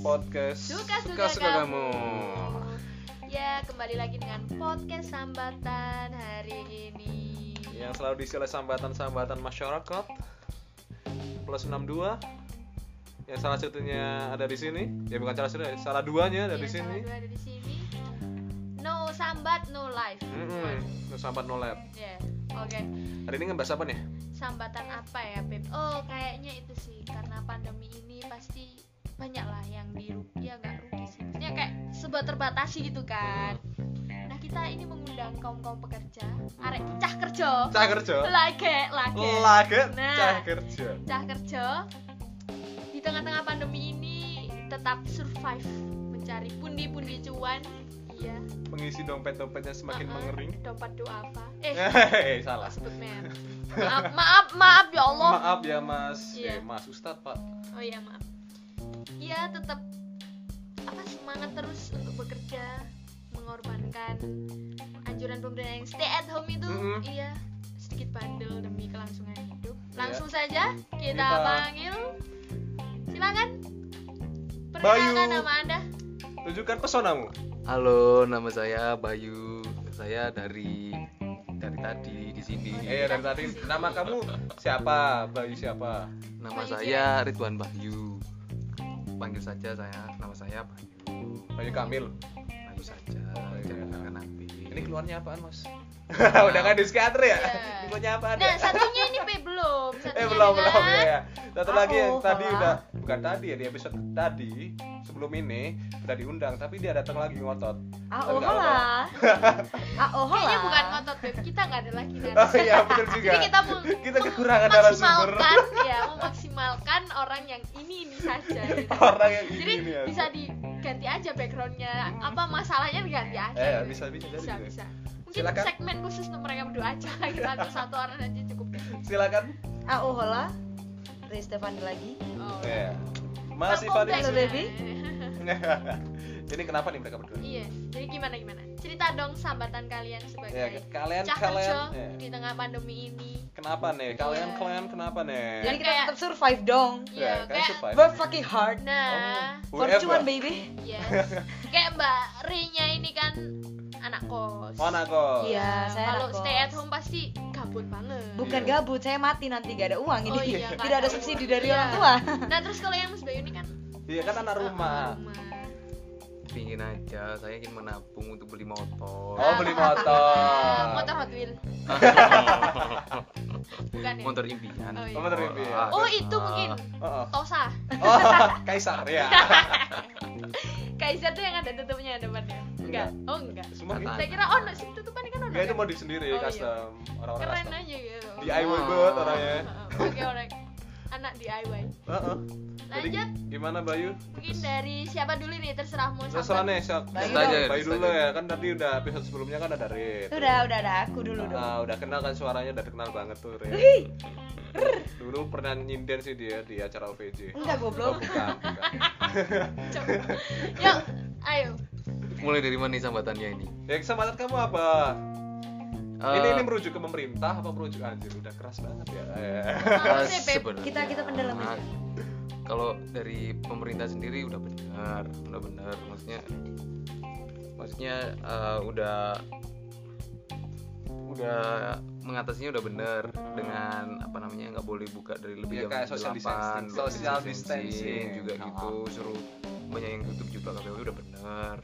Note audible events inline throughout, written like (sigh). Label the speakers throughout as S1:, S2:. S1: podcast
S2: Suka-suka
S1: kamu.
S2: kamu. Ya, kembali lagi dengan podcast sambatan hari ini.
S1: Yang selalu diisi oleh sambatan-sambatan masyarakat Plus 62 Yang salah satunya ada di sini Ya bukan salah satunya, salah duanya ada
S2: Iya,
S1: di sini
S2: salah dua ada di sini. No sambat, no life.
S1: Mm-mm, no Sambat no lab
S2: Ya, oke.
S1: Hari ini ngebahas apa nih?
S2: Sambatan apa ya, Beb? Oh, kayaknya itu sih karena pandemi ini pasti banyak lah yang dirugi ya nggak rugi sih. Maksudnya kayak sebuah terbatasi gitu kan. Nah, kita ini mengundang kaum-kaum pekerja, arek cah kerja.
S1: Cah kerja
S2: Lagi, lagi.
S1: Lagi
S2: Nah.
S1: cah kerja
S2: cah kerja di tengah-tengah pandemi ini tetap survive mencari pundi-pundi cuan iya
S1: Mengisi dompet-dompetnya semakin
S2: Uh-uh.
S1: mengering
S2: dompet doa apa
S1: (laughs)
S2: eh
S1: Hehehe,
S2: salah
S1: salah
S2: sebut merek. maaf maaf maaf ya Allah
S1: Maaf ya mas
S2: Iya.
S1: Eh, Mas Ustadz pak
S2: oh iya maaf iya tetap apa semangat terus untuk bekerja mengorbankan anjuran pemerintah yang stay at home itu
S1: Mm-mm.
S2: iya sedikit bandel demi kelangsungan hidup
S1: Mm-hmm. Iya.
S2: langsung saja kita,
S1: Kita-
S2: panggil silakan
S1: Bayu.
S2: perkenalkan nama
S1: (laughs)
S2: anda
S1: Tunjukkan pesonamu
S3: Halo, nama saya Bayu. Saya dari dari tadi di sini.
S2: Iya,
S1: Eh dari tadi nama kamu siapa? Bayu siapa?
S3: Nama
S2: Bayu
S3: saya Ridwan Bayu. Panggil saja saya, nama saya Bayu.
S1: Bayu Kamil.
S3: Bayu saja.
S1: Bayu,
S3: Jangan
S1: ya.
S3: kangen nanti.
S1: Ini keluarnya apaan mas? (laughs) Udah nggak di psikiater ya?
S2: Eh. Iya.
S1: Keluarnya apaan?
S2: nah
S1: ya?
S2: satunya ini Pe, belum satunya
S1: eh belum
S2: dengan-
S1: belum ya. ya. Satu
S2: Aku,
S1: lagi yang tadi
S2: Fala.
S1: udah bukan tadi ya di episode tadi sebelum ini udah diundang tapi dia datang lagi ngotot.
S4: AO
S1: Enggak, (laughs)
S4: hola. AO hola.
S2: kayaknya bukan ngotot Beb kita nggak ada lagi
S1: (laughs)
S2: kan
S1: Oh iya benar juga.
S2: jadi kita mau
S1: Kita kekurangan narasumber. (laughs)
S2: memaksimalkan ya memaksimalkan orang yang ini ini saja gitu.
S1: Orang yang
S2: jadi
S1: ini ya.
S2: bisa diganti aja backgroundnya apa masalahnya diganti aja
S1: Eh
S2: gitu.
S1: bisa bisa jadi.
S2: bisa
S1: gitu.
S2: bisa mungkin
S1: Silakan.
S2: segmen khusus untuk mereka berdua aja (laughs) gitu atau satu orang aja cukup Oh. deh
S1: Silakan.
S4: AO Ah, oh, hola. Dari Stefan lagi.
S2: oh.
S1: Ya. Masih
S2: Kampung
S1: Fadil.
S2: Teks,
S4: Baby.
S2: ya. (laughs)
S1: (laughs) Jadi kenapa nih mereka berdua?
S2: iya jadi gimana gimana cerita dong sambatan kalian sebagai
S1: Ya, kalian
S2: cah
S1: kalian
S2: kerja
S1: ya.
S2: di tengah pandemi ini
S1: kenapa nih? Kalian
S2: Iya.
S1: kalian kenapa nih?
S2: Jadi
S4: Jadi kita
S2: kayak-
S4: tetap survive dong.
S1: Ya,
S2: iya
S1: kalian
S2: kayak
S1: survive. Oh.
S4: Work fucking hard.
S2: nah
S4: For
S1: Whoever.
S4: cuan baby.
S1: (laughs)
S2: Yes. Kayak Mbak Rinya ini kan anak kos.
S1: Oh, anak kos.
S4: Iya, saya
S2: Kalau
S4: anak kos.
S2: stay at home pasti gabut banget.
S4: Bukan
S1: Iya.
S4: gabut, saya mati nanti gak ada uang ini.
S2: Oh
S4: (laughs)
S2: iya, nggak
S4: Tidak
S2: ada
S4: ada
S2: uang.
S4: subsidi dari
S2: Iya.
S4: orang tua. (laughs)
S2: Nah, terus kalau yang Mas Bayu ini kan
S1: Iya kan anak rumah.
S3: Pingin aja, saya ingin menabung untuk beli motor.
S1: Oh, beli motor.
S2: Ah, motor Hot Wheels. Bukan ya?
S3: motor impian.
S2: Oh, iya.
S1: Kamu terpipi ya.
S3: Ah.
S2: Oh, itu mungkin
S1: Oh, oh.
S2: Tosa.
S1: (laughs) Oh, Kaisar ya.
S2: Kaiser tuh yang ada tutupnya depannya. Enggak. Oh, enggak.
S1: Semua gitu.
S3: Tata.
S2: Saya kira ono sih tutupannya kan ono.
S1: Enggak itu
S2: kan?
S1: mau di sendiri
S2: Oh, iya.
S1: custom orang-orang
S2: Keren
S1: custom.
S2: aja gitu.
S1: DIY
S3: Oh.
S1: banget orangnya.
S2: Oke, orang anak DIY.
S1: Heeh. Jadi
S2: Lanjut.
S1: gimana Bayu?
S2: Mungkin dari siapa dulu nih terserahmu sambat.
S1: Terserah nih, siap.
S4: Bayu
S1: Bayu,
S3: dong.
S1: dulu ya, kan tadi udah episode sebelumnya kan ada Rit.
S4: Udah, udah ada aku dulu dong.
S1: Ah, udah kenal kan suaranya udah kenal banget tuh Rit. Dulu pernah nyinden sih dia di acara OVJ.
S4: Enggak
S1: Oh,
S4: goblok.
S1: bukan, bukan.
S2: Coba. (laughs) Yuk, ayo.
S3: Mulai dari mana nih sambatannya ini?
S1: Ya kesempatan kamu apa? ini
S3: Eh.
S1: ini merujuk ke pemerintah apa merujuk anjir udah keras banget ya. Eh.
S3: Eh,
S2: Maksudnya, Beb.
S3: sebenarnya-
S4: Kita kita pendalam aja.
S3: kalau dari pemerintah sendiri udah benar udah benar maksudnya maksudnya eh, udah udah mengatasinya udah bener dengan apa namanya nggak boleh buka dari
S1: Ya,
S3: lebih jam
S1: kayak social
S3: 8,
S1: distancing,
S3: dua jam
S1: social distancing. Iya.
S3: juga gitu suruh banyak yang tutup juga KPU udah bener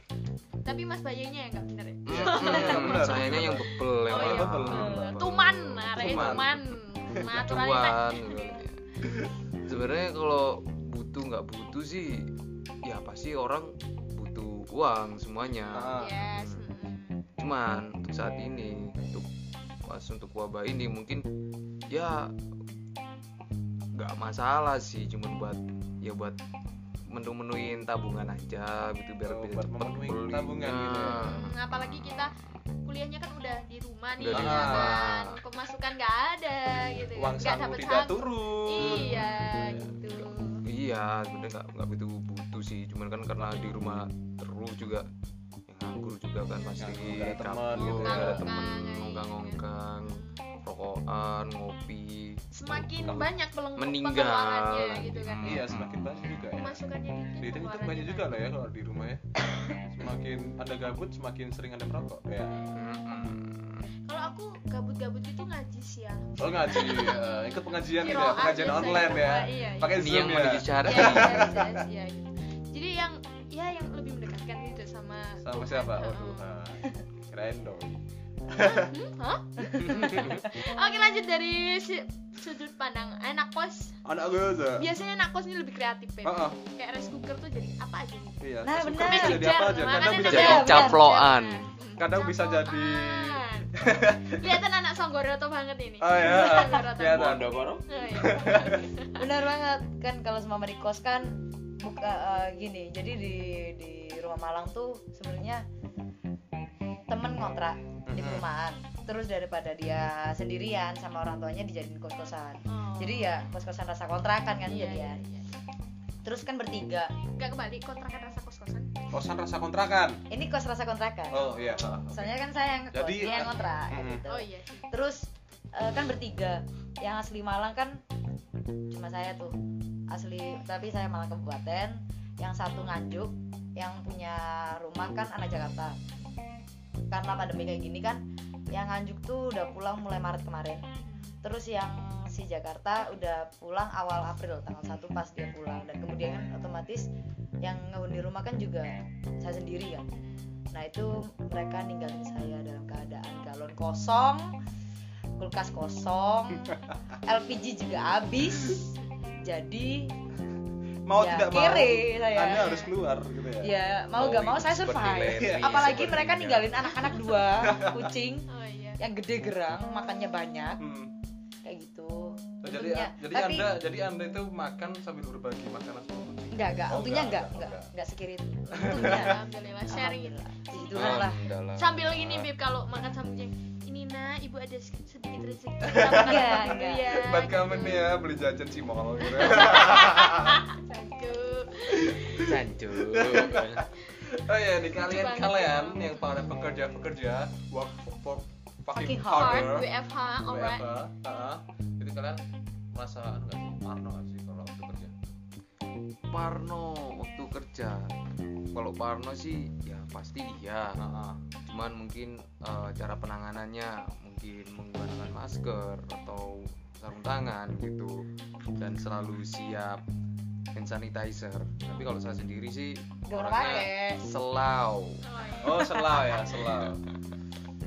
S2: Tapi Mas Bayunya yang nggak bener ya.
S1: Iya,
S3: hmm,
S1: bener.
S3: sayangnya yang bebel yang
S2: Oh, iya,
S3: mahal.
S1: bebel.
S2: Tuman, arek
S3: Tuman.
S2: tuman. Naturalitas.
S3: cuan gitu. (laughs)
S2: (laughs)
S3: sebenarnya kalau butuh nggak butuh sih ya pasti orang butuh uang semuanya
S1: Ah.
S2: Yes. mm.
S3: cuman untuk saat ini untuk pas untuk wabah ini mungkin ya nggak masalah sih cuman buat ya buat menu-menuin tabungan aja gitu biar
S1: Oh,
S3: bisa
S1: buat
S3: cepet
S1: memenuhi
S3: beli.
S1: tabungan gitu ya.
S3: Nah,
S2: Hmm, Apalagi kita kuliahnya kan udah di rumah nih,
S3: Udah
S1: di
S2: ya
S1: rumah.
S2: kan? Pemasukan nggak ada gitu.
S1: Uang
S2: nggak
S1: saku
S2: dapet
S1: tidak
S2: saku.
S1: turun.
S2: Iya, gitu.
S3: Iya, sebenarnya nggak nggak begitu butuh sih, cuman kan karena di rumah terus juga yang nganggur juga kan pasti
S1: Nganggur, nggak ada teman
S3: kabur,
S1: gitu ya.
S3: nggak ada
S2: Nganggur,
S3: teman,
S2: iya.
S3: ngongkang-ngongkang, rokokan, ngopi.
S2: Semakin
S1: Kamu
S2: banyak peleng-
S3: meninggal.
S2: pengeluarannya gitu kan.
S3: Hmm.
S1: Iya, semakin banyak juga ya.
S2: Mas masukannya dikit
S1: dihitung itu
S2: pengeluarannya kan?
S1: banyak juga
S2: banyak.
S1: lah ya kalau di rumah ya semakin anda gabut semakin sering anda merokok ya
S2: kalau aku gabut-gabut itu ngaji sih ya
S1: oh ngaji ya. ikut pengajian
S2: Kiroan
S1: ya pengajian
S2: biasanya.
S1: online ya
S2: Ah, iya, iya.
S1: pakai
S3: ini
S1: zoom
S3: yang Nah, menuju
S1: ya
S3: syahada
S2: Iya, iya, iya, iya, iya, gitu. jadi yang ya yang lebih mendekatkan gitu sama
S1: sama
S2: Tuhan.
S1: siapa oh
S2: Heeh.
S1: Tuhan keren dong
S4: Mm-hmm.
S2: (laughs) Hmm, hah? (laughs) oke lanjut dari si- sudut pandang anak kos
S1: anak gue tuh
S2: biasanya anak kos ini lebih kreatif Pep.
S1: Heeh.
S2: kayak rice cooker tuh jadi apa aja gitu. nih
S1: iya
S4: Nah,
S1: terus
S4: benar.
S1: bisa Ah. jadi apa aja kadang
S2: Makanya
S1: bisa
S2: ada
S1: jadi
S3: Jadi
S2: yang
S3: caploan.
S2: Hmm,
S1: (laughs) Kadang bisa jadi-
S2: caploan. kelihatan anak Songgoroto banget ini
S1: oh ya
S2: (laughs) Songgoroto.
S1: kelihatan
S2: Oh, iya.
S4: (laughs) benar banget kan kalau sama di kos kan buka eh, gini jadi di di rumah Malang tuh sebenarnya temen ngontrak di
S1: Mhm.
S4: perumahan terus daripada dia sendirian sama orang tuanya dijadiin kos kosan
S2: Oh.
S4: (laughs) jadi ya kos kosan rasa kontrakan kan
S2: Iya, iya,
S4: jadian
S2: iya.
S4: terus kan bertiga
S2: nggak kebalik kontrakan rasa kos-kosan
S1: kosan rasa kontrakan
S4: ini kos rasa kontrakan
S1: oh iya ah, oke.
S4: soalnya kan saya yang ngekos
S1: Jadi,
S4: dia yang ngontrak
S1: mhm.
S4: gitu.
S2: oh iya sih
S4: terus eh, kan bertiga yang asli Malang kan cuma saya tuh asli tapi saya Malang Kabupaten yang satu Nganjuk yang punya rumah kan anak Jakarta karena pandemi kayak gini kan yang Nganjuk tuh udah pulang mulai Maret kemarin terus yang si Jakarta udah pulang awal April tanggal 1 pas dia pulang dan kemudian kan otomatis yang ngehuni rumah kan juga saya sendiri kan nah itu mereka ninggalin saya dalam keadaan galon kosong kulkas
S1: (laughs)
S4: kosong LPG juga habis jadi
S1: mau
S4: ya
S1: tidak mau
S4: kere saya
S1: anda harus keluar gitu ya
S4: ya mau gak mau saya survive apalagi mereka ninggalin anak-anak dua kucing
S2: oh iya
S4: yang gede gerang makannya banyak
S1: Hmm.
S4: kayak gitu
S1: Oh, jadi
S4: Untungnya-
S1: jadi
S4: tapi
S1: anda jadi anda itu makan sambil berbagi makanan sama kucing
S4: enggak enggak
S1: Oh,
S4: untungnya
S1: enggak, enggak,
S4: enggak enggak
S1: enggak.
S4: enggak
S1: (laughs)
S4: sekirin untungnya
S2: alhamdulillah sharing gitu
S4: Alhamdulillah. Puji Tuhan lah
S2: sambil ini beb kalau makan sama kucing ini nah ibu ada sedikit rezeki kita makan
S4: (laughs) Iya,
S2: dulu
S4: iya.
S2: ya
S1: buat
S2: gitu.
S1: kamu nih ya beli jajan cimol gitu
S2: Satu.
S1: (laughs) oh ya nih kalian
S2: banget.
S1: kalian yang para pekerja pekerja work for fucking
S4: Fucking
S2: hard
S1: harder
S2: WFH alright
S1: WFH, heeh. jadi kalian merasa anu nggak sih parno nggak sih kalau waktu kerja
S3: Parno waktu kerja kalau Parno sih ya pasti iya
S1: Heeh.
S3: cuman mungkin eh, cara penanganannya mungkin menggunakan masker atau sarung tangan gitu dan selalu siap hand sanitizer tapi kalau saya sendiri sih
S4: Gak pernah
S3: orangnya
S4: pakai.
S3: selau
S2: Oh, iya.
S1: oh selau ya selau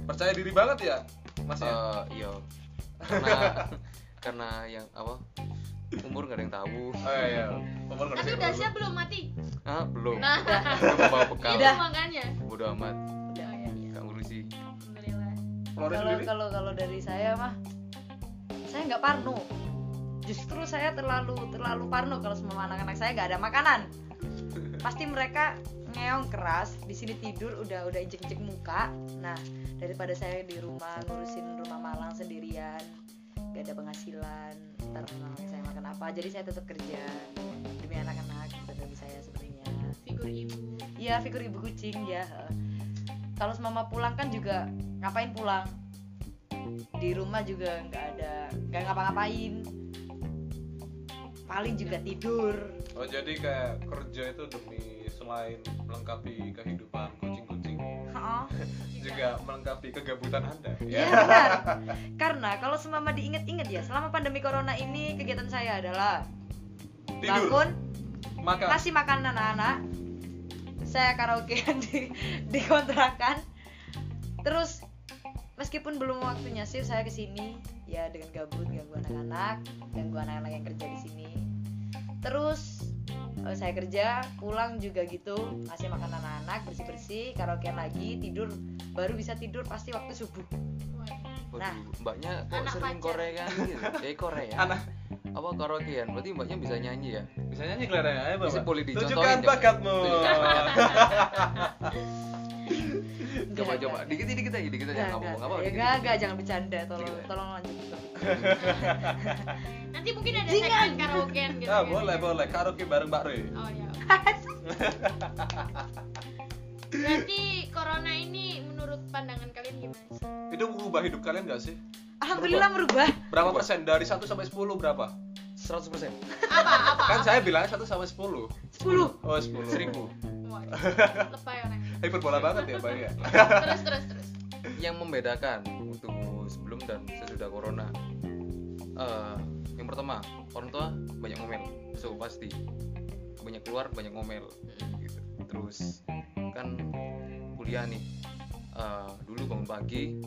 S1: percaya diri banget ya mas ya
S3: Eh, iya
S1: (laughs)
S3: karena karena yang apa umur nggak ada yang tahu
S1: oh iya Umur nggak
S2: tapi
S1: bisa
S2: udah
S1: dulu.
S2: siap belum mati
S3: ah belum
S2: nah
S3: belum bawa bekal
S2: itu makanya
S3: bodo amat
S2: Oh, iya, iya.
S3: nggak ngurusi
S2: alhamdulillah
S1: Kalau dari
S4: kalau
S1: sendiri?
S4: kalau kalau dari saya mah saya nggak parno justru saya terlalu terlalu parno kalau semua anak-anak saya nggak ada makanan pasti mereka ngeong keras di sini tidur udah udah injek injek muka nah daripada saya di rumah ngurusin rumah malang sendirian nggak ada penghasilan ntar anak-anak saya makan apa jadi saya tetap kerja demi anak-anak dan demi saya sebenarnya
S2: figur ibu
S4: Iya, figur ibu kucing ya. heeh. Kalau mama pulang kan juga ngapain pulang? Di rumah juga nggak ada, nggak ngapa-ngapain. Paling juga tidur.
S1: Oh jadi kayak kerja itu demi selain melengkapi kehidupan kucing-kucing
S4: Heeh.
S1: juga melengkapi kegabutan anda ya.
S4: Iya benar. Karena kalau semama diinget-inget ya, selama pandemi corona ini kegiatan saya adalah
S1: Tidur,
S4: bangun,
S1: makan,
S4: kasih makan anak-anak saya karaokean di di kontrakan terus meskipun belum waktunya sih saya kesini ya dengan gabut ganggu anak-anak ganggu anak-anak yang kerja di sini terus eh, saya kerja pulang juga gitu ngasih makan anak-anak bersih-bersih karaokean lagi tidur baru bisa tidur pasti waktu subuh
S3: Waduh,
S4: Nah.
S3: mbaknya kok
S2: Anak
S3: sering
S2: pacar.
S3: korean
S2: (laughs)
S3: gitu ya korea
S1: anak
S3: apa karaokean berarti mbaknya bisa nyanyi ya
S1: bisa nyanyi kelihatannya ayo
S3: Bisa
S1: bapak
S3: boleh dicontohin,
S1: tunjukkan
S3: coba.
S1: bakatmu
S3: Tunjukkan
S2: (laughs) Iya,
S4: Enggak,
S3: coba coba
S2: iya.
S4: enggak.
S3: dikit dikit aja dikit aja
S4: Enggak,
S3: nggak
S4: enggak,
S3: apa apa
S4: ya, enggak, enggak, jangan bercanda, tolong,
S3: Dikit aja.
S4: tolong lanjut.
S2: nanti mungkin ada
S4: Jingan.
S2: segmen karaokean
S3: Iya.
S2: gitu
S1: ya
S2: kan.
S1: boleh boleh karaoke bareng Mbak Re
S2: oh
S4: (laughs)
S2: ya berarti corona ini menurut pandangan kalian gimana sih?
S1: itu merubah hidup kalian gak sih
S4: Alhamdulillah merubah.
S1: berapa persen dari 1 sampai 10 berapa 100 persen.
S2: apa apa
S1: Kan saya bilangnya satu sampai sepuluh.
S4: 10
S1: Oh sepuluh. Seribu.
S2: Wah,
S1: (laughs)
S2: lebay orang
S1: Hiperbola banget ya bang ya.
S2: terus terus terus
S3: yang membedakan untuk sebelum dan sesudah corona Eh, yang pertama orang tua banyak ngomel so pasti banyak keluar banyak ngomel gitu. terus kan kuliah nih Eh, dulu bangun pagi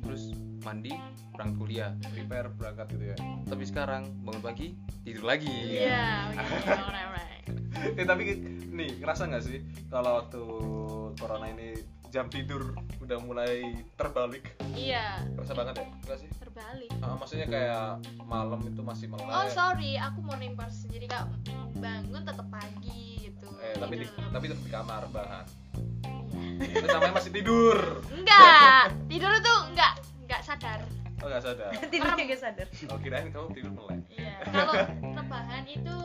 S3: terus mandi berangkat kuliah
S1: Prepare berangkat gitu ya.
S3: tapi sekarang bangun pagi tidur lagi
S2: iya oke, alright, alright.
S1: Eh tapi nih ngerasa nggak sih kalau waktu corona ini jam tidur udah mulai terbalik.
S2: iya
S1: Kerasa banget ya? Nggak sih?
S2: terbalik
S1: Ah, maksudnya kayak malam itu masih melek.
S2: oh sorry aku morning person jadi kak bangun tetap pagi gitu
S1: eh, tapi di,
S2: Tidur.
S1: tapi tetap di kamar bahan.
S2: Iya.
S1: Itu namanya masih tidur.
S2: enggak tidur tuh enggak enggak sadar
S1: Oh nggak sadar.
S4: tidur tiga sadar
S1: Oh kirain kamu tidur melek.
S2: iya kalau rebahan itu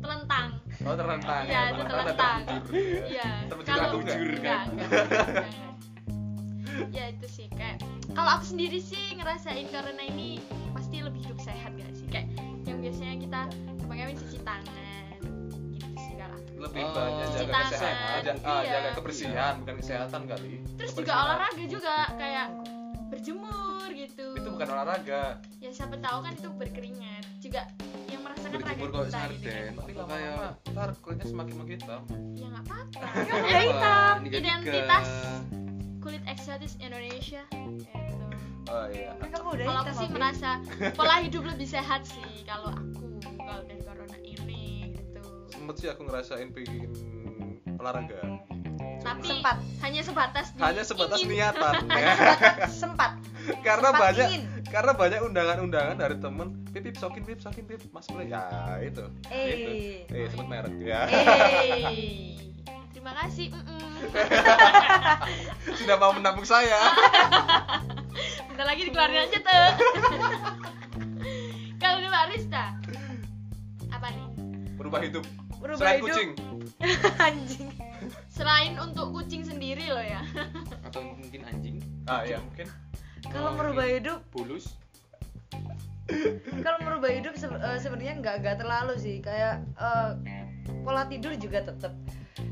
S2: telentang
S1: Oh terlentang.
S2: Iya, itu terlentang.
S1: tidur.
S2: iya
S1: (laughs) Terbentuk
S2: kalau
S1: juga. kan.
S2: enggak, enggak,
S1: (laughs)
S2: enggak, enggak. ya itu sih kayak kalau aku sendiri sih ngerasain corona ini pasti lebih hidup sehat gak sih kayak yang biasanya kita pakai cuci
S1: Hmm.
S2: tangan gitu sih kalau aku.
S1: lebih
S3: Oh,
S1: banyak
S2: cuci
S1: jaga
S2: tangan,
S1: kesehatan ja- ah,
S2: iya.
S1: jaga kebersihan bukan kesehatan kali
S2: terus juga
S1: Kebersihan.
S2: olahraga juga kayak berjemur gitu
S1: itu bukan olahraga
S2: ya siapa tahu kan itu berkeringat juga yang merasakan raga
S3: berjemur
S2: kita
S3: kok
S2: gitu kan
S3: sarden
S1: nanti
S3: apa
S1: lama-lama
S3: kayak
S1: ntar kulitnya semakin menghitam
S2: ya nggak apa-apa
S1: (laughs)
S4: Udah hitam.
S3: Ini kayak
S2: identitas
S3: tiga.
S2: kulit eksotis Indonesia gitu
S1: oh iya
S4: kan kamu udah
S2: kalau aku
S4: hitam
S2: sih
S4: Abi.
S2: merasa pola hidup lebih sehat sih kalau aku kalau dari corona ini gitu
S1: sempet sih aku ngerasain pengen olahraga
S2: tapi
S4: sempat
S2: hanya sebatas di
S1: hanya sebatas
S2: ingin.
S1: niatan
S4: (laughs)
S1: Ya,
S4: hanya sempat sempat
S1: karena
S4: sempat
S1: banyak
S4: ingin.
S1: karena banyak undangan-undangan dari temen pip pip sokin pip sokin pip mas play ya itu itu
S4: eh
S1: eh sebut merek ya (laughs)
S2: Hey. terima kasih mm-mm.
S1: sudah mau menampung saya
S2: bentar lagi dikeluarin aja tuh (laughs) kalau di barista apa nih
S1: berubah hidup
S4: berubah
S1: selain
S4: hidup
S1: kucing
S4: (laughs) anjing
S2: selain untuk kucing sendiri loh ya
S3: atau mungkin anjing
S1: ah iya mungkin Oh,
S4: kalau merubah
S1: iya.
S4: hidup
S3: bulus
S4: kalau merubah hidup se- eh, sebenarnya nggak nggak terlalu sih kayak eh, pola tidur juga tetap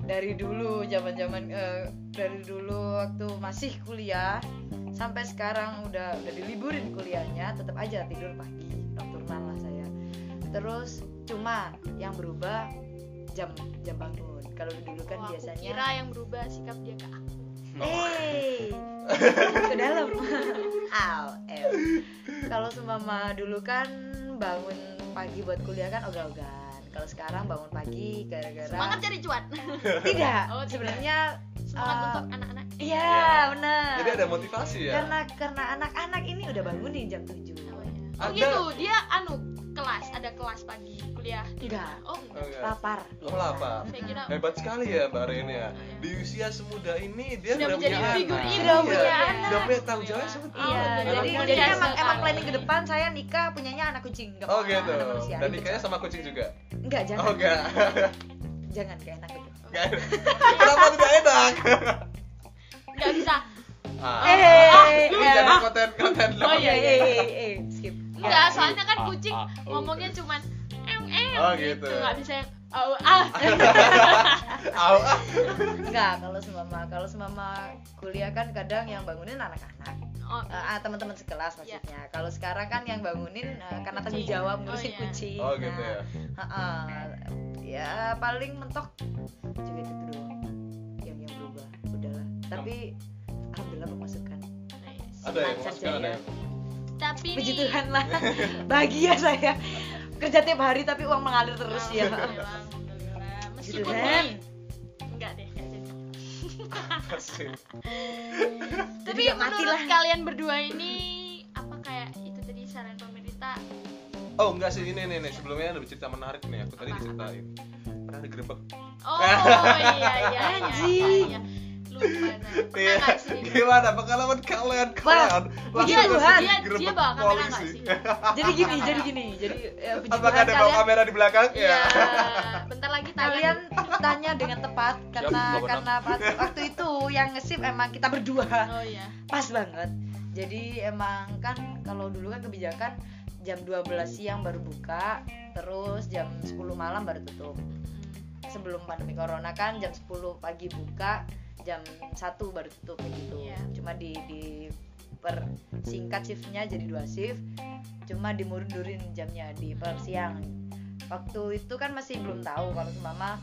S4: dari dulu zaman zaman dari dulu waktu masih kuliah sampai sekarang udah udah diliburin kuliahnya tetap aja tidur pagi nocturnan lah saya terus cuma yang berubah jam jam bangun kalau dulu kan
S2: Oh, aku
S4: biasanya
S2: kira yang berubah sikap dia ke aku
S4: Eh.
S1: Oh,
S4: Oh, Hey, ke (laughs) dalam. Au, ew. Kalau seumpama dulu kan bangun pagi buat kuliah kan ogah-ogahan. Kalau sekarang bangun pagi
S2: semangat
S4: gara-gara
S2: cari cuan (laughs)
S4: tidak.
S2: Oh, tidak.
S4: Sebenarnya
S2: semangat
S4: Ah.
S2: untuk anak-anak
S4: iya, benar.
S1: jadi ada motivasi ya
S4: Karena karena anak-anak ini udah bangun nih jam 7.
S2: Oh, iya. Oh,
S1: Ada-
S2: gitu, dia anu kelas, ada kelas pagi, kuliah.
S4: Tidak.
S2: Oh,
S1: Oh,
S2: enggak.
S1: enggak.
S4: Lapar.
S1: Oh, lapar.
S2: Saya kira
S1: hebat sekali ya Mbak Rin ya di usia semuda ini dia
S2: sudah
S1: sudah,
S2: menjadi
S1: punya
S2: figur
S1: anak.
S2: ini,
S1: Iya,
S4: Sudah
S2: punya
S4: punya
S2: anak.
S1: Sudah punya tanggung jawab seperti
S2: Oh,
S4: Iya,
S1: anak
S4: jadi,
S1: kucing.
S4: jadi
S2: Biasa
S4: emang emang
S2: kali.
S4: planning ke depan saya nikah punyanya anak kucing. Nggak
S1: oh
S4: mau
S1: gitu
S4: anak manusia. Iya.
S1: dan nikahnya sama kucing juga
S4: Enggak, jangan.
S1: oh enggak
S4: Jangan kayak enak itu.
S1: Enggak. kenapa tidak enak
S2: Enggak bisa.
S1: ah,
S4: Eh, eh,
S1: ini
S4: eh.
S1: jadi konten konten
S2: Oh, iya, iya,
S4: Eh, eh, eh, skip.
S2: Enggak,
S1: Ah,
S2: soalnya kan kucing ngomongnya cuman em em
S1: gitu. Oh,
S2: gitu.
S1: gitu.
S2: Enggak bisa yang au ah.
S1: (laughs) Au,
S2: Iya.
S1: ah.
S4: Enggak, kalau semama kalau semama kuliah kan kadang yang bangunin anak-anak,
S2: Oh,
S4: Eh, ah, teman-teman sekelas
S2: Iya.
S4: maksudnya. Kalau sekarang kan yang bangunin eh, karena tanggung
S2: Kucing. Oh,
S4: jawab ngurusin
S2: iya.
S4: kucing.
S1: oh gitu ya
S4: Nah, heeh. ya paling mentok juga itu doang. Yang yang berubah, udahlah. Tapi alhamdulillah pemasukan.
S1: ada ya
S4: Lancar
S1: masukan ada ya
S4: saja.
S2: eh, Tapi
S4: Puji
S2: ini
S4: Tuhan lah. (laughs) Bahagia saya. Kerja tiap hari tapi uang mengalir terus ya.
S2: Alhamdulillah, alhamdulillah.
S4: Puji
S2: Meskipun
S4: Tuhan.
S2: ini- enggak deh, enggak jadi.
S1: Pasti.
S2: (laughs) Tapi
S4: nggak mati
S2: menurut
S4: lah.
S2: kalian berdua ini apa kayak itu tadi saran
S1: (laughs)
S2: pemerintah
S1: oh enggak sih ini nih nih sebelumnya ada cerita menarik nih aku tadi diceritain pernah digerebek
S2: Oh iya iya
S4: Anjing.
S2: iya, iya. Lupa nah. Pernah
S1: Iya.
S2: nggak sih?
S1: gimana pengalaman kalian kalian
S2: Dia
S1: langsung
S4: Tuhan.
S2: dia
S1: digerebek
S2: dia bawa kamera nggak
S1: polisi
S2: sih?
S4: Jadi
S2: (laughs)
S4: gini, jadi gini. Jadi ya, puji
S1: apakah
S4: Tuhan
S1: ada bawa
S4: kalian
S1: kamera di belakang
S2: Iya.
S1: ya
S4: (laughs)
S2: Bentar lagi
S4: kalian tanya dengan tepat karena
S3: Siap, Bapak
S4: karena waktu, waktu itu yang ngesip emang kita
S2: (laughs)
S4: berdua
S2: Oh iya.
S4: pas banget jadi emang kan kalau dulu kan kebijakan jam 12 siang baru buka terus jam 10 malam baru tutup sebelum pandemi corona kan jam 10 pagi buka jam 1 baru tutup kayak gitu
S2: Iya.
S4: cuma di di persingkat shiftnya jadi dua shift cuma dimundurin jamnya di
S2: Hmm.
S4: per siang waktu itu kan masih belum tahu kalau semama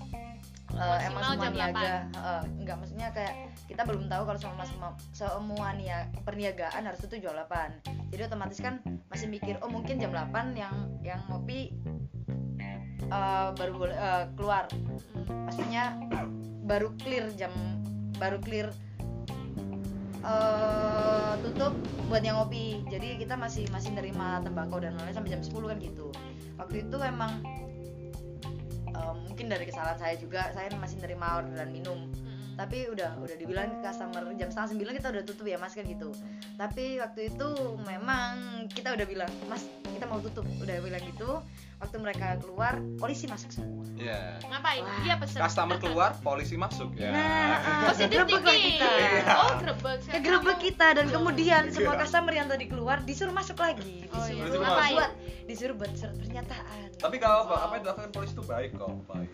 S4: eh, emang
S2: Maksimal
S4: semua
S2: jam
S4: niaga eh, enggak maksudnya kayak kita belum tahu kalau semua semua semua nia- perniagaan harus tutup jam 8 jadi otomatis kan masih mikir oh mungkin jam 8 yang yang ngopi eh, baru boleh eh, keluar maksudnya baru clear jam baru clear eh tutup buat yang ngopi jadi kita masih masih nerima tembakau dan lain-lain sampai jam 10 kan gitu waktu itu emang eh, mungkin dari kesalahan saya juga saya masih nerima orderan minum tapi udah udah dibilang ke customer jam setengah sembilan kita udah tutup ya mas kan gitu tapi waktu itu memang kita udah bilang mas kita mau tutup udah bilang gitu waktu mereka keluar polisi masuk semua
S1: Iya.
S2: ngapain
S4: Wah.
S2: dia pesen
S1: Customer keluar, polisi masuk. Ya.
S4: Nah, ah.
S2: positif
S4: Kegerebek lah
S2: tinggi
S4: kita.
S2: oh grebek Saya
S4: kegerebek
S2: kira
S4: kita dan kemudian semua
S1: Iya.
S4: customer yang tadi keluar disuruh masuk lagi
S2: Oh,
S4: disuruh
S2: iya.
S1: Disuruh
S2: Ngapain?
S4: buat disuruh buat surat pernyataan
S1: Tapi kalau
S2: Wow.
S1: apa yang dilakukan polisi itu baik kok, baik.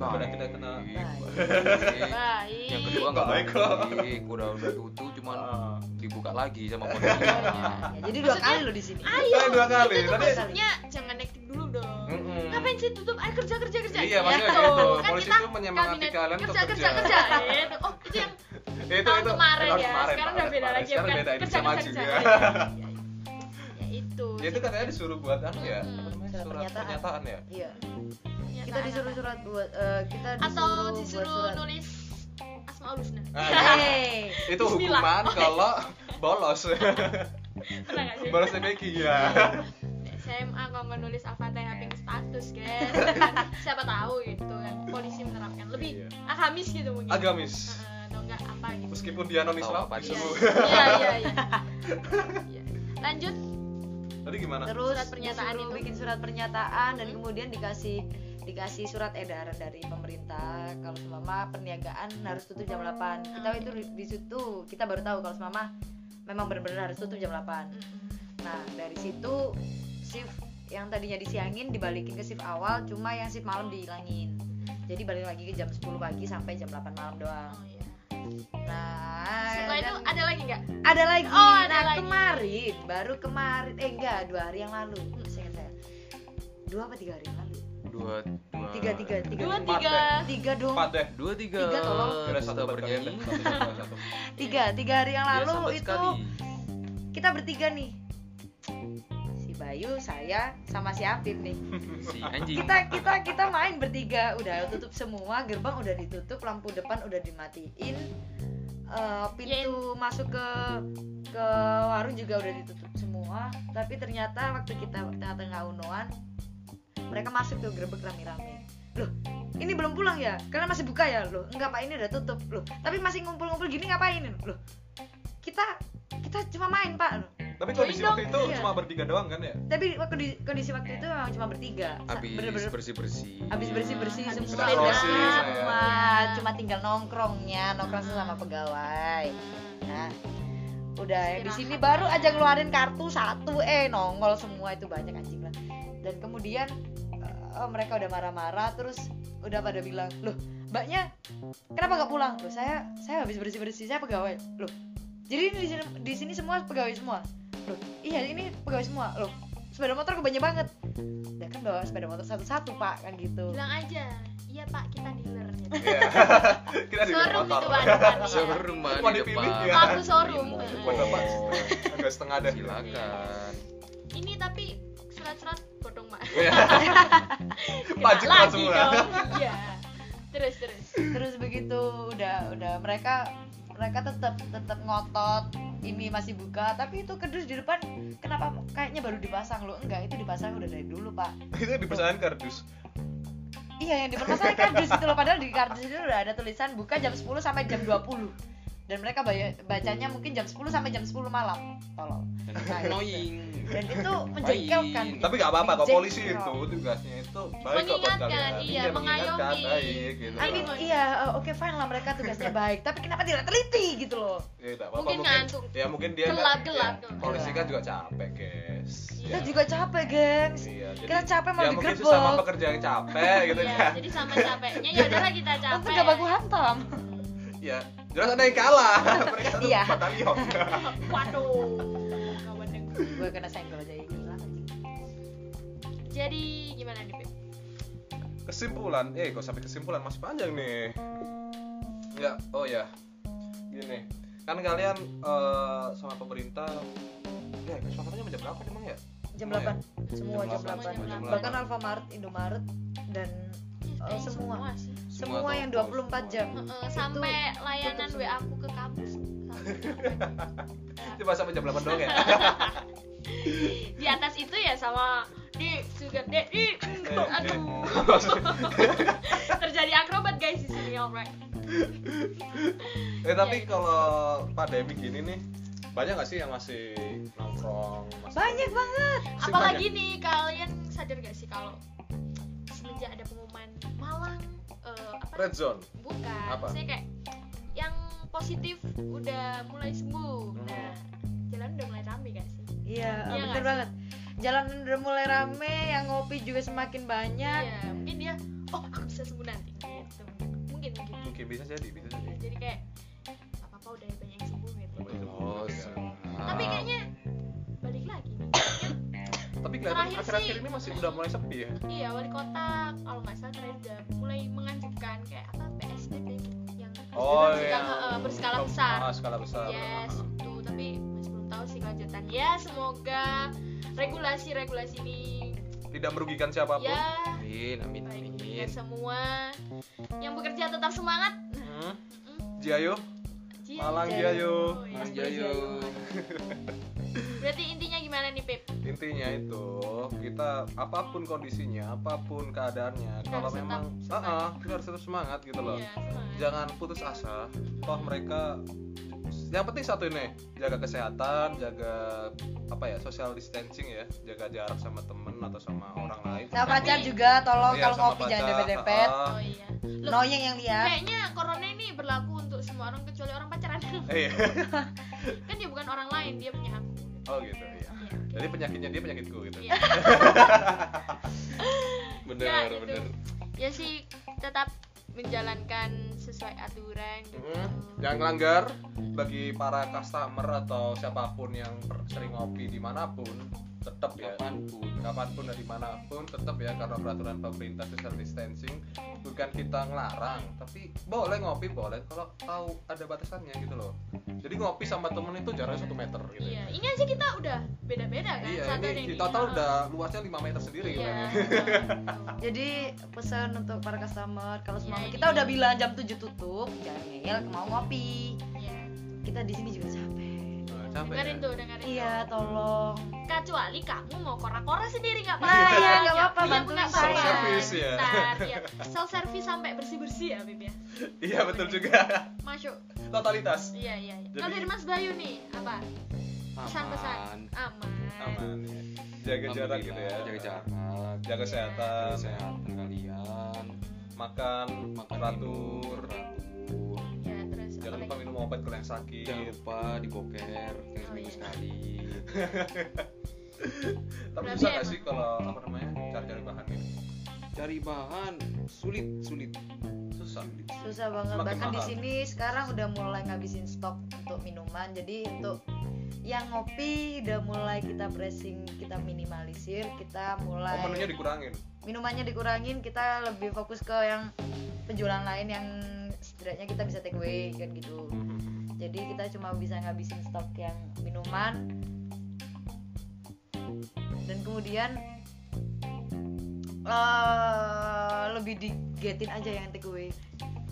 S1: Daripada kita kena
S2: mau- baik
S3: yang kedua nggak
S1: Baik, kok.
S3: baik udah udah tutup cuman
S1: Ah.
S3: dibuka lagi sama polisinya
S4: Ya, jadi dua
S2: Maksudnya-
S4: kali loh di sini
S2: ayo
S1: Saya dua kali,
S2: itu tuh
S1: tapi-
S2: maksudnya jangan nektik dulu dong
S1: Mm-mm.
S2: ngapain sih tutup ayo kerja kerja kerja
S1: Iya, maksudnya gitu.
S2: kan
S1: Polisi
S2: kita
S1: itu menyemangati
S2: kabinet,
S1: kalian untuk
S2: kerja kerja kerja
S1: kerja.
S2: Gitu. oh itu yang
S1: Itu itu
S2: tahun kemarin
S1: tahun
S2: ya
S1: kemarin,
S2: sekarang
S1: tahun
S2: udah beda
S1: kemarin.
S2: lagi ya
S1: Sekarang
S2: bukan
S1: beda
S2: kerja
S1: Indonesia maju
S2: kerja kerja
S1: ya.
S2: Iya, iya. ya itu Iya.
S1: Ya itu katanya disuruh buat apa ya?
S2: Mm-mm.
S1: Apa namanya?
S4: Surat
S1: Surat
S4: pernyataan.
S1: pernyataan ya.
S4: iya
S2: Ternyata
S4: kita disuruh
S2: anak-anak.
S4: surat buat eh, kita
S2: atau
S4: disuruh buat
S2: disuruh
S4: surat
S2: nulis asmaul husna (laughs)
S1: Ah,
S4: Hey,
S1: itu
S2: Bismillah. (laughs)
S1: hukuman kalau bolos. (laughs)
S2: pernah nggak sih
S1: Bolosnya Becky
S2: (laughs)
S1: ya.
S2: SMA kalau nggak nulis al-fatihah pink status
S4: (laughs)
S2: guys siapa tahu gitu kan polisi menerapkan lebih
S1: Iya.
S2: agamis gitu mungkin
S1: Agamis.
S2: Heeh, atau enggak apa gitu
S1: Meskipun dia non Islam,
S3: Tahu apa
S2: Iya,
S1: disuruh.
S2: iya
S1: (laughs)
S2: iya iya Iya. lanjut
S1: Tadi gimana?
S4: terus
S2: Surat pernyataan
S4: disuruh
S2: itu.
S4: bikin surat pernyataan dan kemudian dikasih dikasih surat edaran dari pemerintah kalau semama perniagaan harus tutup jam 8 kita
S2: Hmm.
S4: itu di- di situ kita baru tahu kalau semama memang benar-benar harus tutup jam 8 nah dari situ shift yang tadinya disiangin dibalikin ke shift awal cuma yang shift malam dihilangin jadi balik lagi ke jam 10 pagi sampai jam 8 malam doang
S2: oh iya
S4: nah
S2: setelah itu
S4: dan-
S2: ada lagi nggak
S4: ada lagi
S2: Oh, ada
S4: nah
S2: lagi.
S4: kemarin baru kemarin eh enggak dua hari yang lalu seingat saya dua apa tiga hari yang lalu
S3: dua dua
S4: tiga tiga tiga
S2: dua
S1: Eh, Empat
S2: tiga
S4: tiga dong
S1: Empat deh.
S3: dua tiga
S4: Tiga, tolong.
S1: Kira
S3: kita
S1: satu buat
S3: bernyanyi
S1: kalian. Satu, satu, satu.
S4: tiga tiga hari
S1: Iya,
S4: yang
S3: Dia
S4: lalu
S3: sambat
S4: itu
S3: sekali.
S4: kita bertiga nih si Bayu saya sama si Apip nih
S3: si anjing
S4: kita kita kita main bertiga udah tutup semua gerbang udah ditutup lampu depan udah dimatiin eh, pintu masuk ke ke warung juga udah ditutup semua tapi ternyata waktu kita tengah-tengah unoan mereka masuk tuh gerbek rame-rame loh ini belum pulang ya karena masih buka ya loh enggak pak ini udah tutup loh tapi masih ngumpul-ngumpul gini ngapain loh kita kita cuma main pak loh
S1: Tapi kondisi
S2: Join
S1: waktu itu
S4: iya.
S1: cuma bertiga doang kan
S2: (laughs)
S1: ya?
S4: tapi kondisi, kondisi waktu itu memang cuma bertiga Sa-
S3: habis
S4: bener-bener
S3: bersih bersih
S4: habis bersih bersih
S2: Habis
S4: semua
S1: bersih,
S4: udah
S1: saya.
S4: cuma cuma tinggal nongkrongnya nongkrong sama pegawai nah udah ya di sini baru aja ngeluarin kartu satu eh nongol semua itu banyak anjing lah dan kemudian eh, mereka udah marah-marah terus udah pada bilang loh mbaknya kenapa nggak pulang loh saya saya habis bersih bersih saya pegawai loh jadi ini di sini, di sini semua pegawai semua loh iya ini pegawai semua loh sepeda motor kebanyakan banget ya kan bawa sepeda motor satu-satu pak kan gitu
S2: bilang aja iya pak kita dealer gitu.
S1: Iya. Kita di
S2: Showroom
S1: motor.
S2: gitu waduh
S3: serum Mbak,
S1: Cuma
S3: di
S1: dipilih,
S3: depan
S1: ya.
S2: Aku showroom.
S4: Iya.
S1: Buat apa? (laughs) Agak setengah deh.
S3: silakan
S2: ini tapi surat-surat bodong mak
S1: Iya.
S2: (laughs)
S1: (laughs)
S2: Kena
S1: Pajak lah
S2: lagi
S1: semua.
S2: dong. iya terus
S1: (laughs)
S2: terus
S4: terus begitu udah udah mereka mereka tetap tetap ngotot ini masih buka tapi itu kedus di depan kenapa kayaknya baru dipasang loh enggak itu dipasang udah dari dulu pak
S1: (laughs) Itu di perusahaan kardus.
S4: iya yang dipermasalahin kardus itu loh padahal di kardus itu udah ada tulisan buka jam 10 sampai jam 20 dan mereka baya- bacanya mungkin jam 10 sampai jam 10 malam tolol
S3: Dan
S4: Nah, iya.
S3: annoying.
S4: dan itu menjengkelkan
S3: Baik.
S1: tapi nggak apa-apa kok
S4: Jack
S1: polisi
S4: Sparrow.
S1: itu tugasnya itu baik kok buat
S2: Mengingatkan,
S1: kalian
S2: iya,
S1: mengingatkan
S2: mengayomi.
S1: baik gitu
S4: I mean,
S1: loh.
S4: iya, uh, oke fine lah mereka tugasnya baik, tapi kenapa tidak teliti gitu loh?
S1: ya, nggak apa-apa,
S2: mungkin ngantuk
S1: ya mungkin dia
S2: Gelap,
S1: nggak-
S2: gelap, Iya.
S1: ya,
S2: gelap.
S1: polisi kan juga capek guys
S4: Kita
S1: Ya.
S4: juga capek, gengs.
S1: Iya, jadi-
S4: Kita capek malah
S1: ya mungkin
S4: digerebek.
S1: sesama pekerja yang capek
S2: (laughs)
S1: gitu
S2: Iya,
S1: kan
S2: jadi sama capeknya ya udahlah kita
S4: Tentu
S2: capek
S4: gak baku hantam.
S1: ya jelas ada yang
S2: (laughs)
S1: kalah mereka satu
S4: Iya. (laughs)
S1: batalion
S2: waduh kawan yang
S4: Gue kena senggol aja ini lah.
S2: jadi gimana nih
S4: Eh,
S2: Pip?
S1: kesimpulan eh kok sampai kesimpulan masih panjang nih ya oh ya gini kan kalian eh, sama pemerintah ya kesepakatannya jam berapa emang ya
S4: Jam
S1: Semua ya?
S4: 8. Semua
S1: Jam
S4: jam
S1: delapan,
S4: 8.
S2: semua jam
S4: Bahkan
S1: delapan.
S4: Alfamart, Indomaret dan
S2: Ya,
S4: Oh,
S2: kayaknya
S4: semua.
S2: sih
S4: semua,
S3: toko,
S4: yang 24 jam.
S2: Heeh, sampai layanan
S4: tutup
S2: WA aku ke kampus
S1: coba sampai jam 8 doang ya
S2: (laughs) di atas itu ya sama di sugar daddy
S1: Eh,
S2: aduh (laughs) terjadi akrobat guys di sini alright
S1: eh
S2: Iya,
S1: tapi kalau pandemi gini nih banyak gak sih yang masih nongkrong masih
S4: Banyak banget.
S1: Masih
S2: apalagi nih kalian sadar gak sih kalau semenjak ada pengumuman Malang eh, apa
S1: red zone
S2: bukan
S1: Apa?
S2: saya kayak yang positif udah mulai sembuh nah jalan
S1: Hmm.
S2: udah mulai rame gak sih Iya
S4: Iya, bener
S2: nggak sih?
S4: banget. Jalan udah mulai rame, yang ngopi juga semakin banyak.
S2: Iya, mungkin dia oh aku bisa sembuh nanti gitu mungkin mungkin
S1: mungkin bisa jadi bisa jadi
S2: jadi kayak apa apa udah banyak yang sembuh gitu
S1: Oh,
S2: tapi kayaknya balik lagi nih
S1: tapi kelihatan
S2: Terakhir
S1: akhir-akhir
S2: sih-
S1: ini masih udah mulai sepi ya
S2: iya wali kota kalau nggak salah terakhir udah mulai menganjurkan kayak apa PSBB yang
S1: Oh,
S2: berskala, eh, berskala besar Iya.
S1: Ah, skala iya. besar
S2: yes itu tapi masih belum tahu sih kelanjutan ya semoga regulasi-regulasi ini
S1: tidak merugikan siapapun
S2: ya
S3: Amin, amin,
S2: baik untuk kita
S3: amin.
S2: semua yang bekerja tetap semangat Mm.
S1: Hmm.
S2: Mm-mm.
S1: Jayo
S2: Jaya,
S1: Malang
S2: jaya.
S1: Jayo.
S2: Oh, iya.
S3: Mas Jayo.
S2: berarti intinya gimana nih Pip
S1: intinya itu kita apapun kondisinya apapun keadaannya
S2: Kita
S1: kalau
S2: harus
S1: memang
S2: tetap
S1: ah
S2: semangat.
S1: ah, kita harus tetap semangat gitu loh
S2: Iya, semangat.
S1: jangan putus asa toh mereka yang penting satu ini jaga kesehatan jaga apa ya social distancing ya jaga jarak sama temen atau sama orang lain
S4: Sama
S1: Tapi-
S4: pacar juga, tolong
S1: Iya,
S4: kalau
S1: sama
S4: ngopi jangan
S1: pacar,
S4: dempet-dempet.
S1: ah,
S2: oh iya Loh,
S4: Noyeng yang lihat.
S2: kayaknya corona ini berlaku untuk semua orang kecuali orang pacaran
S1: ah. Iya.
S2: (laughs)
S1: (laughs)
S2: kan dia bukan orang lain dia punya aku
S1: oh gitu ya jadi penyakitnya dia penyakitku gitu
S2: Iya.
S1: (laughs) bener
S2: Ya, gitu.
S1: bener
S2: ya sih tetap menjalankan sesuai aturan gitu.
S1: Mm, jangan melanggar bagi para customer atau siapapun yang per- sering ngopi dimanapun tetap ya
S3: Kapanpun.
S1: kapanpun dari manapun tetap ya karena peraturan pemerintah social distancing bukan kita ngelarang tapi boleh ngopi boleh kalau tahu ada batasannya gitu loh jadi ngopi sama temen itu jaraknya satu meter gitu
S2: iya ini aja kita udah beda-beda kan
S1: iya
S2: satu ada
S1: ini di
S2: yang
S1: total
S2: di- Oh,
S1: udah luasnya 5 meter sendiri
S2: iya,
S1: kan ya.
S2: iya, gitu.
S4: Jadi pesan untuk para customer kalau
S2: Iya,
S4: semangat
S2: ini.
S4: kita udah bilang jam 7 tutup, jangan ngeyel mau ngopi.
S2: Iya.
S4: Kita di sini juga capek.
S1: Nah, capek ya.
S2: dengerin tuh dengerin
S4: Iya, tolong.
S2: tuh. kecuali kamu mau kora-kora sendiri nggak
S4: Nah,
S2: apa-apa
S4: iya, nggak apa-apa,
S2: Iya,
S4: bantuin
S2: nggak
S4: saya.
S2: apa-apa.
S1: Self-service, ya.
S2: Bentar, iya. self service sampai bersih bersih ya Bib ya
S1: iya betul juga (laughs)
S2: masuk
S1: totalitas
S2: iya iya iya.
S1: Jadi-
S2: kalau dari Mas Bayu nih apa pesan-pesan
S3: Aman.
S2: aman,
S1: aman ya. jaga jarak gitu ya
S3: Alhamdulillah, Jaga jarak.
S1: jaga kesehatan
S3: Jaga kesehatan kalian.
S1: makan
S3: Makan
S1: teratur
S3: minum, teratur.
S2: ya terus
S1: jangan
S2: apa
S1: lupa
S2: lagi?
S1: minum obat kalau yang sakit
S3: Jangan lupa diboker tiga
S2: Oh,
S3: seminggu
S2: iya.
S3: sekali.
S1: tapi
S2: Berarti
S1: bisa nggak
S2: emang-
S1: sih kalau apa namanya cari-cari bahan gitu
S3: Cari bahan sulit, sulit,
S1: susah
S3: sulit.
S4: Susah banget.
S1: Semakin
S4: Bahkan di
S1: mahal.
S4: sini sekarang udah mulai ngabisin stok untuk minuman. Jadi untuk yang ngopi udah mulai kita pressing, kita minimalisir, kita mulai
S1: oh, menunya dikurangin
S4: minumannya dikurangin, kita lebih fokus ke yang penjualan lain yang setidaknya kita bisa take away kan gitu.
S3: Mm-hmm.
S4: jadi kita cuma bisa ngabisin stok yang minuman dan kemudian eh lebih digetin aja yang take away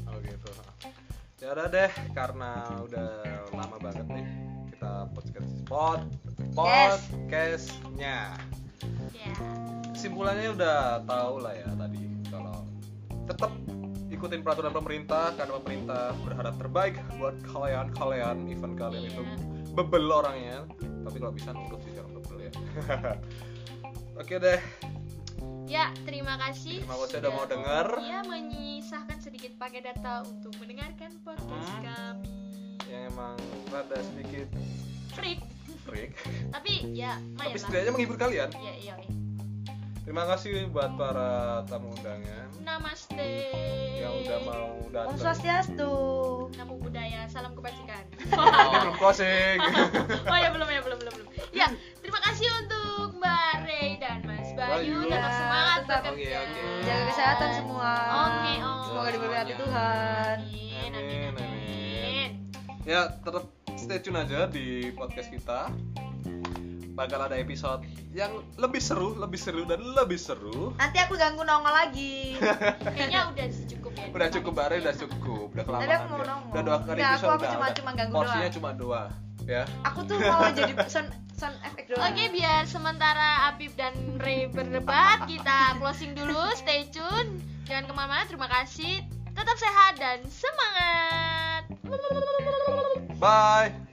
S1: Oh gitu. Ya udah deh, karena udah lama banget nih kita podcast pod
S4: Yes.
S1: podcastnya.
S2: ya
S1: Kesimpulannya udah tahu lah ya tadi kalau tetap ikutin peraturan pemerintah karena pemerintah berharap terbaik buat kalian kalian event kalian itu
S2: Iya.
S1: bebel orangnya tapi kalau bisa nurut sih jangan bebel ya (laughs) oke deh
S2: Ya, terima kasih.
S1: terima kasih udah mau denger
S2: Iya, menyisahkan sedikit pakai data untuk mendengarkan podcast
S1: Hmm.
S2: kami.
S1: yang emang rada sedikit
S2: Freak,
S1: freak
S2: tapi ya lumayan
S1: tapi
S2: lah.
S1: setidaknya menghibur kalian
S2: Iya, iya. iya.
S1: terima kasih buat para tamu undangan
S2: Namaste.
S1: yang Ya, udah mau
S4: Om
S1: datang
S4: Swastiastu.
S2: Namo budaya, salam
S1: (laughs)
S2: kebajikan.
S1: ini belum closing
S2: oh ya belum ya belum belum belum. Ya, terima kasih untuk Mbak Rey dan Mas Bayu
S1: Bayu.
S2: tetap semangat
S4: Ya, Tetap.
S2: bekerja.
S3: Oke, oke.
S4: Jaga kesehatan semua.
S2: Oke, Om.
S4: Semoga diberkati
S3: Semuanya.
S4: Tuhan.
S2: Amin, amin, amin.
S1: ya tetap stay tune aja di podcast kita bakal ada episode yang lebih seru lebih seru dan lebih seru
S4: Nanti aku ganggu nongol
S2: (laughs)
S4: lagi.
S2: Kayaknya udah sih cukup ya.
S1: udah cukup bare udah cukup udah kelamaan
S4: Tadi aku mau
S1: ya.
S4: nongol.
S1: udah dua kali
S4: Udah, aku
S1: episode
S4: aku
S1: udah,
S4: cuma
S1: udah.
S4: cuma ganggu
S1: porsinya
S4: doang.
S1: cuma dua ya
S4: Aku tuh mau jadi sound sound effect doang.
S2: Oke, biar sementara Apip dan Ray berdebat, kita closing dulu. Stay tune. Jangan kemana-mana. Terima kasih. Tetap sehat dan semangat.
S1: bye